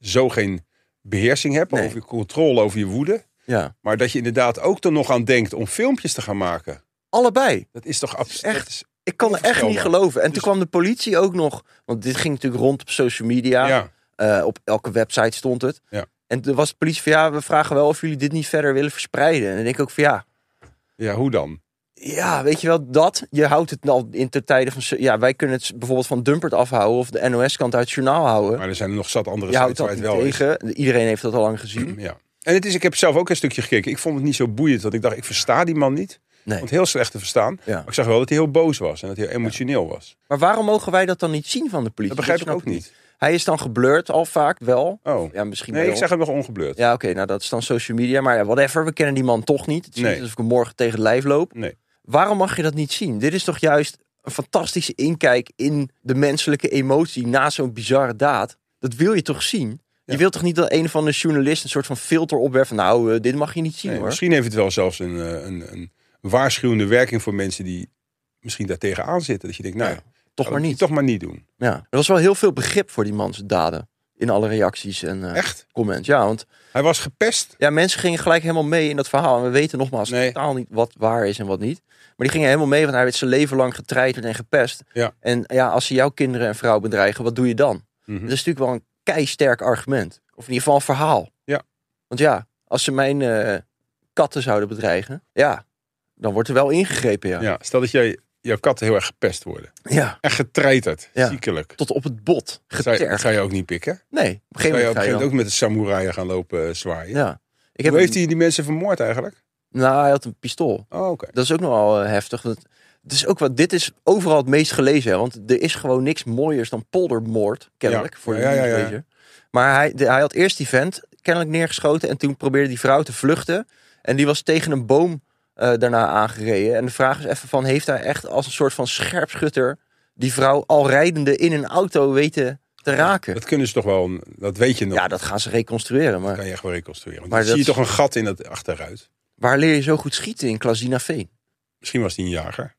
zo geen beheersing hebt
Nee.
of je controle over je woede.
Ja.
Maar dat je inderdaad ook er nog aan denkt om filmpjes te gaan maken.
Allebei.
Dat is toch absurd?
echt- Ik kan er echt niet
Onvoorstelbaar.
geloven. En
Dus-
toen kwam de politie ook nog. Want dit ging natuurlijk rond op social media.
Ja. Ja.
Eh, op elke website stond het.
Ja.
En toen was de politie van ja, we vragen wel of jullie dit niet verder willen verspreiden. En dan denk ik ook van ja,
hoe dan?
Ja, weet je wel, dat. Je houdt het al in ter tijde van... Ja, wij kunnen het bijvoorbeeld van Dumpert afhouden... of de NOS-kant uit het journaal houden.
Maar er zijn er nog zat andere
Je houdt
sites waar
dat
het
niet
wel Mm-hmm.
tegen. Iedereen heeft dat al lang
is.
gezien.
Ja. En het is, ik heb zelf ook een stukje gekeken. Ik vond het niet zo boeiend, want ik dacht, ik versta die man niet.
Nee.
Want heel slecht te verstaan.
Ja.
Maar ik zag wel dat hij heel boos was en dat hij heel emotioneel was.
Maar waarom mogen wij dat dan niet zien van de politie?
Dat begrijp ik
snap
ook niet.
Hij is dan geblurred al vaak, wel.
Oh,
Ja, misschien
nee,
wel.
ik zag hem nog ongebleurd.
Ja, oké, nou dat is dan social media. Maar ja, whatever, we kennen die man toch niet. Het is
Nee.
niet alsof ik hem morgen tegen het lijf loop.
Nee.
Waarom mag je dat niet zien? Dit is toch juist een fantastische inkijk in de menselijke emotie na zo'n bizarre daad. Dat wil je toch zien?
Ja.
Je wilt toch niet dat een van de journalisten een soort van filter opwerpt van nou, eh, dit mag je niet zien
Nee,
hoor.
misschien heeft het wel zelfs een, eh, een, een waarschuwende werking voor mensen die misschien daar tegenaan zitten. Dat je denkt, nou,
Ja, toch
oh,
maar niet.
Toch maar niet doen.
Ja. Er was wel heel veel begrip voor die man's daden in alle reacties en eh,
Echt?
comments. Ja, want
Hij was gepest.
ja, mensen gingen gelijk helemaal mee in dat verhaal. En we weten nogmaals
Nee.
totaal niet wat waar is en wat niet. Maar die gingen helemaal mee, want hij werd zijn leven lang getreiterd en gepest.
Ja.
En ja, als ze jouw kinderen en vrouw bedreigen, wat doe je dan?
Mhm.
Dat is natuurlijk wel een keisterk argument. Of in ieder geval een verhaal.
Ja.
Want ja, als ze mijn eh, katten zouden bedreigen, ja, dan wordt er wel ingegrepen, ja.
Ja. stel dat jij, jouw katten heel erg gepest worden.
Ja,
Echt getreiterd,
Ja.
ziekelijk.
tot op het bot
Zou je,
getergd.
ga je ook niet pikken.
Nee, op een
Zou je op
gegeven moment
een
ga
gegeven
je
moment
dan-
ook met de samuraiën gaan lopen eh, zwaaien.
Ja. Ik
Hoe
heb
heeft hij die mensen vermoord eigenlijk?
Nou, hij had een pistool.
Oh, oké.
Dat is ook nogal eh, heftig. want het is ook wat, dit is overal het meest gelezen. Hè? Want er is gewoon niks mooiers dan poldermoord, kennelijk.
Ja.
Voor de
Ja, ja, ja, ja.
nieuwslezer. Maar hij, de- hij had eerst die vent kennelijk neergeschoten. En toen probeerde die vrouw te vluchten. En die was tegen een boom eh, daarna aangereden. En de vraag is even van, heeft hij echt als een soort van scherpschutter die vrouw al rijdende in een auto weten te raken.
Dat kunnen ze toch wel, dat weet je nog.
Ja, dat gaan ze reconstrueren. Maar
kan je echt wel reconstrueren. Want
Maar
dan zie je
dat-
toch een gat in het achteruit.
waar leer je zo goed schieten in Klazinaveen?
Misschien was hij een jager.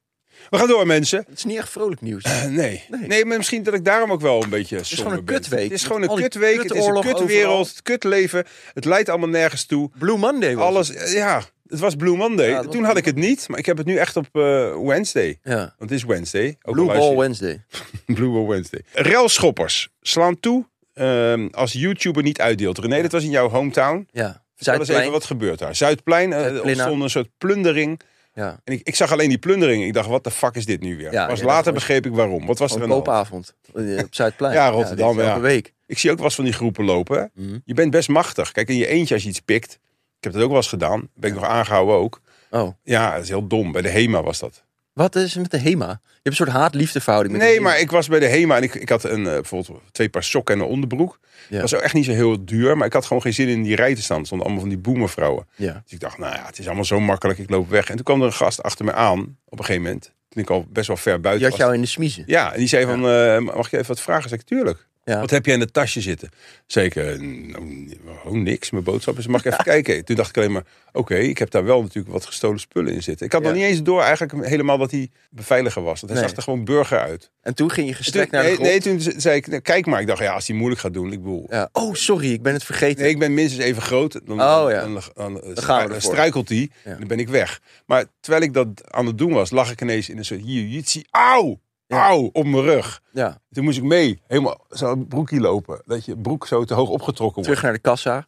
We gaan door, mensen. <clears throat>
Het is niet echt vrolijk nieuws.
Eh, nee. nee.
Nee.
maar misschien dat ik daarom ook wel een beetje somber
gewoon een
ben.
kutweek.
Het is gewoon
Met
een
al die
kutweek. Het is een
kutoorlog overal.
kutwereld. Het kutleven. Het leidt allemaal nergens toe.
Blue Monday was
Alles, eh, ja. Het was Blue Monday.
Ja, het was
Toen had ik het niet, maar ik heb het nu echt op eh, Wednesday.
het. Ja.
Want het is Wednesday. Ook
Blue
al luister
Ball
je-
Wednesday.
<laughs> Blue Ball Wednesday. Relschoppers slaan toe ehm, als YouTuber niet uitdeelt. René, dat was in jouw hometown.
Ja.
Vertel eens even
Zuidplein.
wat gebeurt daar. Zuidplein, eh, er
Zuidplein.
ontstond een soort plundering.
Ja.
En ik, ik zag alleen die plundering. Ik dacht, wat de fuck is dit nu weer?
Ja,
Pas later
ja, dat was- Oh,
begreep ik waarom. Wat was er
Gewoon
aan
Een
de hand?
koopavond. eh, Op Zuidplein.
<laughs> Ja, Rotterdam,
dit is
ja.
elke week.
Ik zie ook wel eens van die groepen lopen. hè.
Mhm.
Je bent best machtig. Kijk, in je eentje als je iets pikt. Ik heb dat ook wel eens gedaan. Ben ik nog aangehouden ook.
Oh.
Ja, dat is heel dom. Bij de HEMA was dat.
Wat is er met de HEMA? Je hebt een soort haat-liefdeverhouding. met de
Nee,
HEMA.
maar ik was bij de HEMA en ik, ik had een, eh, bijvoorbeeld twee paar sokken en een onderbroek.
Ja.
Dat was ook echt niet zo heel duur, maar ik had gewoon geen zin in die rij te staan. Er stonden allemaal van die boemervrouwen.
Ja.
Dus ik dacht, nou ja, het is allemaal zo makkelijk, ik loop weg. En toen kwam er een gast achter me aan, op een gegeven moment. Toen ik al best wel ver
Je
buiten
had
was.
jou in de smiezen.
Ja, en die zei van, eh, mag ik je even wat vragen? Zeg ik, tuurlijk.
Ja.
Wat heb jij in het tasje zitten? Zeker, nou, gewoon niks, mijn boodschap is, mag ik
<laughs>
even kijken? Toen dacht ik alleen maar, oké, ik heb daar wel natuurlijk wat gestolen spullen in zitten. Ik had
Ja.
nog niet eens door eigenlijk helemaal dat hij beveiliger was. Want hij
Nee.
zag er gewoon burger uit.
En toen ging je
Toen-
gestrekt naar de
nee,
grond.
nee, toen ze- zei ik, nou, kijk maar. Ik dacht, ja, als hij moeilijk gaat doen, ik bedoel...
Ja. Oh, sorry, ik ben het vergeten.
Nee, ik ben minstens even groot. Dan,
Oh, ja.
dan, dan, dan,
gaan we
dan
ervoor.
struikelt hij.
Ja.
Dan ben ik weg. Maar terwijl ik dat aan het doen was, lag ik ineens in een soort jiu-jitsu. Auw!
Ja.
Auw! Op mijn rug.
Ja.
Toen moest ik mee. Helemaal zo'n broekje lopen. Dat je broek zo te hoog opgetrokken wordt.
Terug naar de kassa.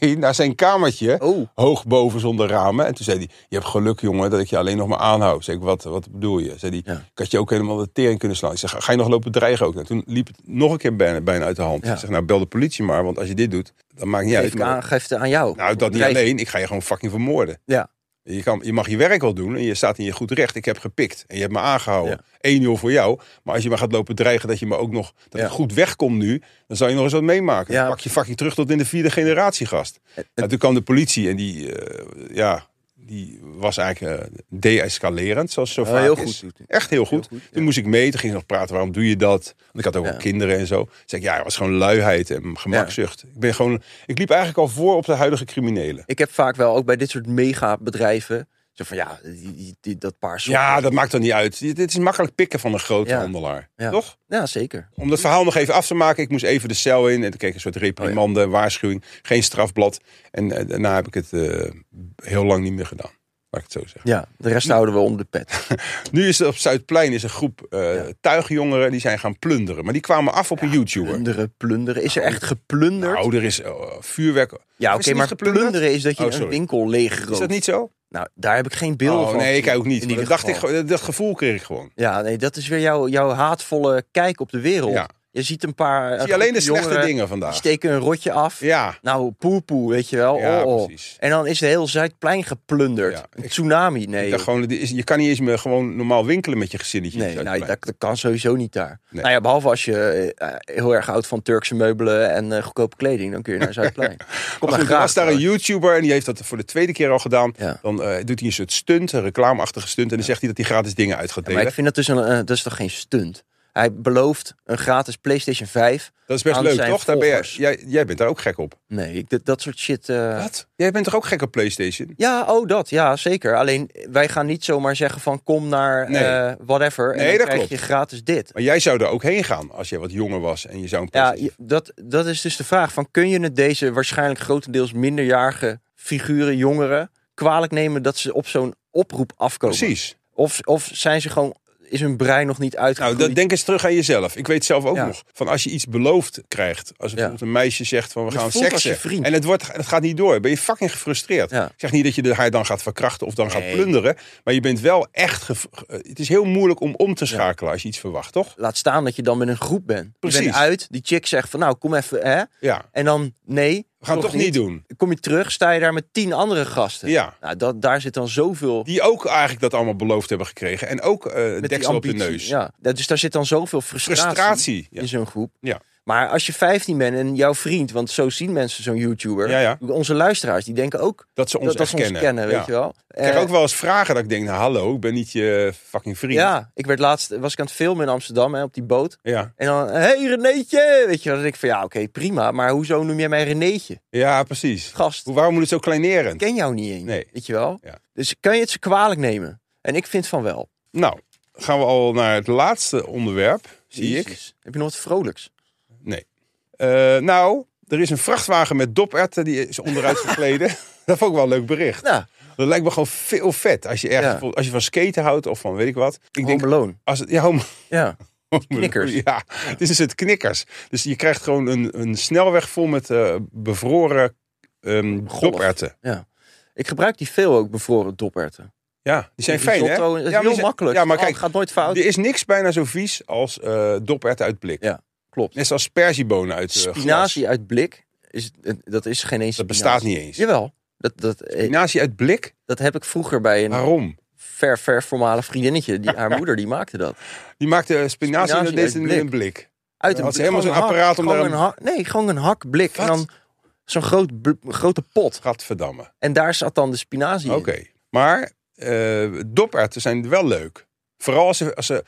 Nee, <laughs> naar zijn kamertje.
Oh.
Hoog boven zonder ramen. En toen zei hij, je hebt geluk jongen dat ik je alleen nog maar aanhoud. Zeg ik, wat, wat bedoel je? Zei hij,
Ja.
ik had je ook helemaal de tering kunnen slaan. Ik zeg, ga je nog lopen dreigen ook? Nou, toen liep het nog een keer bijna, bijna uit de hand.
Ja.
Ik zeg, nou bel de politie maar, want als je dit doet, dan maakt niet
Geef,
uit.
ik
maar-
aan, geef het aan jou.
nou, dat niet
Drijf-
alleen. Ik ga je gewoon fucking vermoorden.
Ja.
Je, kan, je mag je werk wel doen en je staat in je goed recht. Ik heb gepikt en je hebt me aangehouden. 1-0 voor jou. Maar als je maar gaat lopen dreigen dat je me ook nog dat
Ja.
het goed wegkomt nu, dan zal je nog eens wat meemaken.
Ja.
Dan pak je fucking terug tot in de vierde generatie gast.
Eh,
Nou, toen kwam de politie en die, eh, ja, die was eigenlijk eh, de-escalerend, zoals het zo
Oh,
vaak
heel
is.
goed doet hij.
Echt heel goed.
Heel goed,
Toen moest ik mee, toen ging ze nog praten, waarom doe je dat? Want ik had ook
Ja.
wel kinderen en zo. Toen zei ik, ja, het was gewoon luiheid en gemakzucht. Ik, ben gewoon, ik liep eigenlijk al voor op de huidige criminelen.
Ik heb vaak wel, ook bij dit soort megabedrijven, zo van ja, die, die, die- dat paar sokken.
Ja, dat maakt dan niet uit. Dit dit is makkelijk pikken van een grote
Ja.
handelaar.
Ja.
Toch?
Ja, zeker.
Om dat verhaal nog even af te maken, ik moest even de cel in. En toen kreeg ik een soort
Oh,
reprimande, waarschuwing. Geen strafblad. En eh, daarna heb ik het eh, heel lang niet meer gedaan. Laat ik het zo zeggen.
Ja, de
Hm.
rest houden we onder de pet.
Nu is er op Zuidplein is een groep eh,
Ja.
tuigjongeren die zijn gaan plunderen. Maar die kwamen af op een YouTuber.
Plunderen, plunderen. Is er echt geplunderd?
Nou, er is eh, vuurwerk.
ja,
Is
oké,
er niet
maar
geplunderd?
plunderen is dat je
Oh,
een
sorry.
winkel leegrooft.
Is dat niet zo?
Nou, daar heb ik geen beelden
oh,
van.
nee, ik
gezien,
ook niet. Maar
in ieder
Dat, dacht ik,
geval.
gewoon- dat gevoel kreeg ik gewoon.
Ja, nee, dat is weer jouw, jouw haatvolle kijk op de wereld.
Ja.
Je ziet een paar. een
Zie je alleen de
groepje
slechte
jongeren,
dingen
Die
vandaag.
steken een rotje af.
Ja,
Nou, poepoe, weet je wel.
Ja,
oh, oh.
precies.
En dan is de hele Zuidplein geplunderd.
Ja,
een
ik-
tsunami, nee.
ik dacht
joh.
gewoon, dit is- je kan niet eens meer gewoon normaal winkelen met je gezinnetje. op
Nee,
Zuidplein.
nou, dat, dat kan sowieso niet daar.
Nee.
Nou ja, behalve als je eh, heel erg houdt van Turkse meubelen en eh, goedkope kleding, dan kun
<laughs>
je naar Zuidplein. Kom
Maar
maar
goed, er
graag.
was daar een
trouwens.
YouTuber en die heeft dat voor de tweede keer al gedaan.
Ja.
Dan eh, doet hij een soort stunt, een reclameachtige stunt. En dan zegt hij dat hij gratis dingen uit gaat delen.
Maar ik vind dat dus, een, eh, dat is toch geen stunt? Hij belooft een gratis PlayStation 5.
dat is best
aan
leuk,
zijn
toch? Daar ben jij,
volgers.
jij, jij bent daar ook gek op.
Nee, ik, dat, dat soort shit. eh,
Wat? Jij bent toch ook gek op PlayStation?
Ja, oh dat, ja zeker. Alleen wij gaan niet zomaar zeggen van kom naar
Nee.
eh, whatever en
Nee,
dan
dat
krijg
klopt.
je gratis dit.
Maar jij zou er ook heen gaan als je wat jonger was en je zou een
Ja,
PlayStation-
je- dat, dat is dus de vraag van kun je het deze waarschijnlijk grotendeels minderjarige figuren, jongeren, kwalijk nemen dat ze op zo'n oproep afkomen?
Precies.
Of, of zijn ze gewoon, is hun brein nog niet
Nou,
uitgegroeid?
dan denk eens terug aan jezelf. Ik weet zelf ook
Ja.
nog. Van als je iets beloofd krijgt. Als er bijvoorbeeld een meisje zegt van we
Het
gaan
voelt als je
seksen.
vriend.
En het, wordt, het gaat niet door. Ben je fucking gefrustreerd.
Ja.
Ik zeg niet dat je de- haar dan gaat verkrachten of dan gaat
Nee.
plunderen. Maar je bent wel echt... gef- eh, Het is heel moeilijk om om te schakelen als je iets verwacht, toch?
Laat staan dat je dan met een groep bent.
Precies.
Je bent uit, die chick zegt van nou kom even hè.
Ja.
En dan nee.
We gaan het toch niet doen.
Kom je terug, sta je daar met tien andere gasten.
Ja.
Nou, dat, daar zit dan zoveel
Die ook eigenlijk dat allemaal beloofd hebben gekregen. En ook eh
met die
deksel op de
ambitie,
neus.
Ja, Dat- dus daar zit dan zoveel frustratie,
Frustratie. Ja.
in zo'n groep.
Ja.
Maar als je 15 bent en jouw vriend, want zo zien mensen zo'n YouTuber.
Ja, ja.
Onze luisteraars, die denken ook
Dat ze ons
dat, dat
echt
ze ons kennen,
kennen.
weet
Ja.
je wel.
Ik krijg
Eh,
ook wel eens vragen dat ik denk, nou hallo, ik ben niet je fucking vriend.
Ja, ik werd laatst, was ik aan het filmen in Amsterdam, hè, op die boot.
Ja,
En dan, hey Renéetje! Weet je wel, dan denk ik van, ja, oké, prima. Maar hoezo noem jij mij Renéetje?
Ja, precies.
Gast,
Hoe- Waarom moet het zo
ik
kleinerend?
ken jou niet eens,
Nee.
weet je wel.
Ja.
Dus kan je het ze kwalijk nemen? En ik vind van wel.
Nou, gaan we al naar het laatste onderwerp, zie ik.
Jezus. Heb je nog wat vrolijks?
Eh, nou, er is een vrachtwagen met doperwten, die is onderuit gegleden.
<laughs>
<laughs> dat vond ik wel een leuk bericht.
Nou,
Dat lijkt me gewoon veel vet. Als je, ergens,
Ja.
voelt- als je van skaten houdt of van weet ik wat. Ik
Home
denk,
Alone.
als het, ja, homo-
Ja. Knikkers.
<laughs> Ja, het is het knikkers. Dus je krijgt gewoon een, een snelweg vol met eh, bevroren ehm
Golf.
doperwten.
Ik gebruik die veel ook, bevroren doperwten.
Ja, die zijn
Die
fijn, hè?
risotto, Dat
Ja, maar
is
die
heel
zijn-
makkelijk.
Ja, maar
Oh,
kijk,
het gaat nooit fout.
er is niks bijna zo vies als eh doperwten uit blik.
Ja, klopt.
Net zoals perziebonen uit eh, glas.
Spinazie uit blik, is, dat is geen eens
Dat bestaat
spinazie.
niet eens.
Jawel. Dat, dat, eh,
Spinazie uit blik?
dat heb ik vroeger bij een
Waarom?
ver, ver voormalig vriendinnetje. Die, haar moeder die maakte dat.
Die maakte eh, spinazie en
Spinazie
dat deed
uit
ze in
blik.
een blik.
Uit
Dan had ze
blik,
helemaal
gewoon
zo'n
een hak,
apparaat om
gewoon
daar
een hak- Nee, gewoon een hakblik. En
Wat?
dan zo'n groot, bl- grote pot.
Gadverdamme.
En daar zat dan de spinazie
Oké.
in.
Maar eh doperwten zijn wel leuk. Vooral als ze, als ze...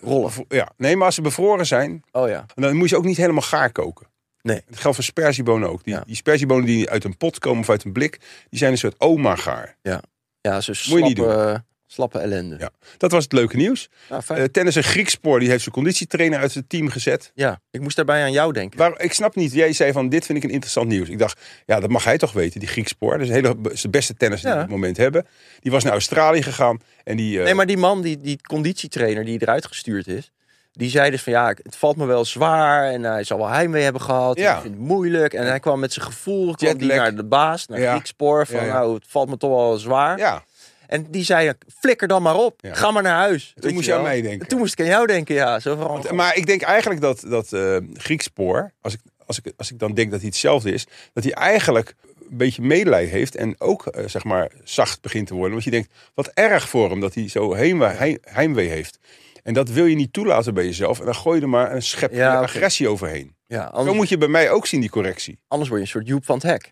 Rollen.
Ja, nee, maar als ze bevroren zijn,
Oh ja.
dan moet je ook niet helemaal gaar koken.
Nee.
Dat geldt voor sperziebonen ook. Die,
Ja.
die sperziebonen die uit een pot komen of uit een blik, die zijn een soort oma-gaar.
Ja, ze
Moet je niet
slappe, slappe ellende.
Ja. Dat was het leuke nieuws.
Nou, fijn.
Eh tennisser Griekspoor, die heeft zijn conditietrainer uit het team gezet.
ja, ik moest daarbij aan jou denken.
Waar, ik snap niet, jij zei van dit vind ik een interessant nieuws. Ik dacht, ja, dat mag hij toch weten, die Griekspoor. Dat is een hele, dat is de beste tennis die
Ja.
we op het moment hebben. Die was naar Australië gegaan en die... eh,
Nee, maar die man, die, die conditietrainer die eruit gestuurd is, die zei dus van ja, ik- het valt me wel zwaar en hij zal wel heimwee hebben gehad.
Ja.
En ik vind het moeilijk. En hij kwam met zijn gevoel kwam die
Jetlag.
naar de baas, naar
Ja.
Griekspoor, van
Ja, ja.
nou, het valt me toch wel zwaar.
Ja,
En die zei, flikker dan maar op,
Ja.
ga maar naar huis. Weet
moest
je
je aan
wel.
mij denken.
Toen moest ik aan jou denken, ja. Zo van, oh,
want- eh,
God.
maar ik denk eigenlijk dat, dat eh, Griekspoor, als ik, als, ik, als ik dan denk dat hij hetzelfde is, dat hij eigenlijk een beetje medelijden heeft en ook, eh, zeg maar, zacht begint te worden. Want je denkt, wat erg voor hem dat hij zo heimwee, heim- heimwee heeft. En dat wil je niet toelaten bij jezelf. En dan gooi je er maar een schep
Ja, oké.
agressie overheen.
ja,
Zo
anders,
moet je bij mij ook zien, die correctie.
anders word je een soort Joep van het Hek.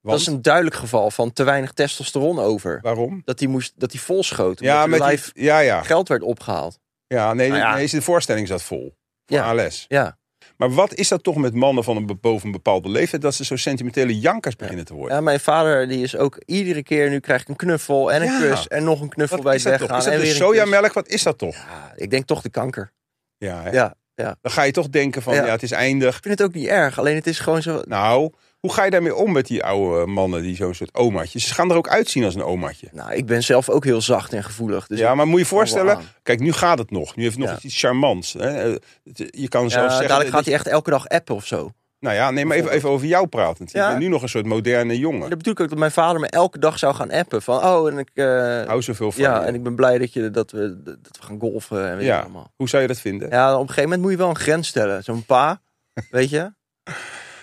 Want,
Dat is een duidelijk geval van te weinig testosteron over.
Waarom?
Dat die, moest, dat die vol schoot, omdat
Ja,
er
met die-
live
ja, ja.
geld werd opgehaald.
ja, nee,
Nou ja.
nee, de voorstelling zat vol. Van
Ja.
ALS.
Ja.
Maar wat is dat toch met mannen van een, be- boven een bepaalde leeftijd... dat ze zo sentimentele jankers beginnen te worden?
Ja, mijn vader die is ook iedere keer, nu krijg ik een knuffel en een
Ja.
kus en nog een knuffel
wat
bij
is
het
dat
weggaan.
toch? Is dat dus
en
de
weer een
sojamelk? Wat is dat toch?
kus. Ja, ik denk toch de kanker.
Ja, hè?
Ja, ja.
Dan ga je toch denken van, ja,
Ja.
het is eindig.
Ik vind het ook niet erg, alleen het is gewoon zo...
Nou, hoe ga je daarmee om met die oude mannen... die zo'n soort omaatjes? Ze gaan er ook uitzien als een omaatje.
Nou, ik ben zelf ook heel zacht en gevoelig. Dus
ja, maar moet je je voorstellen...
Kom wel aan.
Kijk, nu gaat het nog. Nu heeft het nog
Ja.
iets- iets charmants. Hè? Eh, het- Je kan
Ja,
zelfs zeggen...
dadelijk
dat
gaat hij echt elke dag appen of zo.
Nou ja, nee, maar even, even over jou pratend. Je
Ja.
bent nu nog een soort moderne
Maar
jongen.
dat bedoel ik ook dat mijn vader me elke dag zou gaan appen. Van, oh, en ik... eh,
Hou zoveel van
ja,
je.
en ik ben blij dat, je, dat, we, dat we gaan golfen en weet
Ja.
je allemaal.
Hoe zou je dat vinden?
Ja, op een gegeven moment moet je wel een grens stellen. Zo'n pa, <laughs> weet je?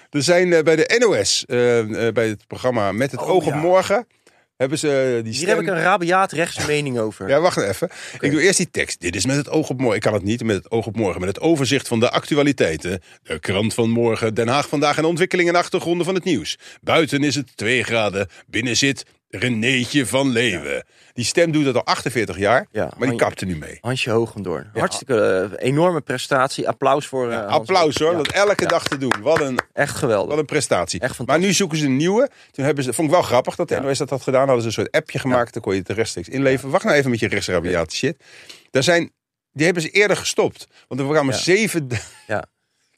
Er zijn eh, bij de NOS, eh, eh, bij het programma Met het
Oh,
Oog op
ja.
Morgen, hebben ze eh, die
Hier
stem...
heb ik een rabiaat rechts mening over.
Ja, wacht even. Ik doe eerst die tekst. Dit is met het oog op morgen. Ik kan het niet met het oog op morgen. Met het overzicht van de actualiteiten. De krant van morgen. Den Haag vandaag en ontwikkelingen en achtergronden van het nieuws. Buiten is het 2 graden. Binnen zit Renéetje van Leeuwen. Die stem doet dat al 48 jaar.
Ja,
maar die
maar-
kapte nu mee.
Hansje Hogendoorn. Hartstikke eh, enorme prestatie. Applaus voor eh, Hans.
Applaus hoor,
Ja,
dat elke
Ja.
dag te doen. Wat een,
Echt geweldig.
wat een prestatie.
Echt fantastisch.
maar nu zoeken ze een nieuwe. Toen hebben ze, vond ik wel grappig dat de
Ja.
NOS dat had gedaan. Hadden ze een soort appje gemaakt, dan kon je het rechtstreeks inleveren. Wacht nou even met je rechtsrabiate shit. Daar zijn, die hebben ze eerder gestopt. Want er kwamen
Ja.
zeven...
Ja.
<laughs>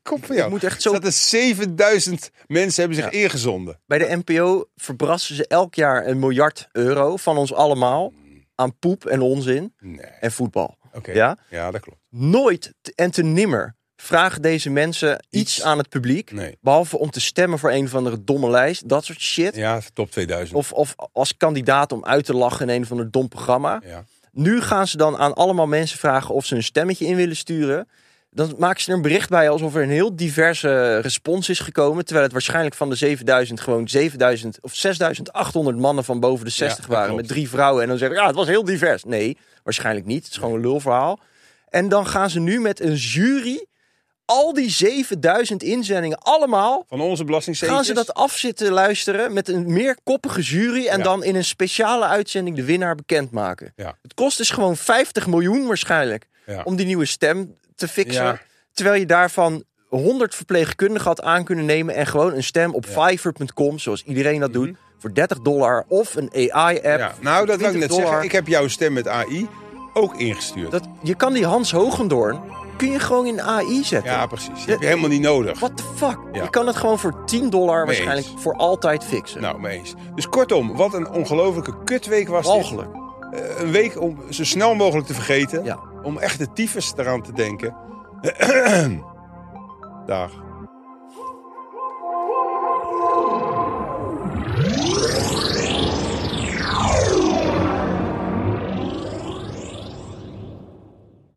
Kom van
Ik
jou.
moet echt
Zo...
zo...
Dat er 7000 mensen hebben zich
Ja.
ingezonden.
Bij de NPO verbrassen ze elk jaar een miljard euro van ons allemaal aan poep en onzin
Nee,
en voetbal.
oké. Ja?
Ja?
dat klopt.
Nooit te- en te nimmer vragen deze mensen iets
Iets.
aan het publiek.
Nee.
Behalve om te stemmen voor een of andere domme lijst. Dat soort shit.
Ja, top 2000.
Of, of als kandidaat om uit te lachen in een of ander dom programma.
Ja.
Nu gaan ze dan aan allemaal mensen vragen of ze een stemmetje in willen sturen. Dan maken ze er een bericht bij alsof er een heel diverse respons is gekomen. Terwijl het waarschijnlijk van de 7000 gewoon 7000 of 6800 mannen van boven de 60
dat
waren.
klopt.
Met drie vrouwen. En dan zeggen ja, het was heel divers. Nee, waarschijnlijk niet. Het is gewoon een lulverhaal. En dan gaan ze nu met een jury al die 7000 inzendingen, allemaal
Van onze belastingzetels.
gaan ze dat afzitten luisteren met een meer koppige jury en
Ja.
dan in een speciale uitzending de winnaar bekendmaken.
Ja.
Het kost dus gewoon 50 miljoen waarschijnlijk
Ja.
om die nieuwe stem te fixen.
Ja.
Terwijl je daarvan 100 verpleegkundigen had aan kunnen nemen en gewoon een stem op Fiverr.com, zoals iedereen dat doet, voor 30 dollar of een AI-app.
Mhm. Ja. Nou, dat wil ik net
20
zeggen.
dollar.
Ik heb jouw stem met AI ook ingestuurd.
Dat, je kan die Hans Hogendoorn, kun je gewoon in AI zetten.
Ja, precies. Die heb je helemaal niet nodig.
What the fuck?
Ja.
Je kan het gewoon voor 10 dollar
Mee
waarschijnlijk
eens.
voor altijd fixen.
Nou, mee eens. Dus kortom, wat een ongelofelijke kutweek was dit.
Walgelijk.
Eh, Een week om zo snel mogelijk te vergeten.
Ja.
Om echt de tyfus eraan te denken. <clears throat> Dag.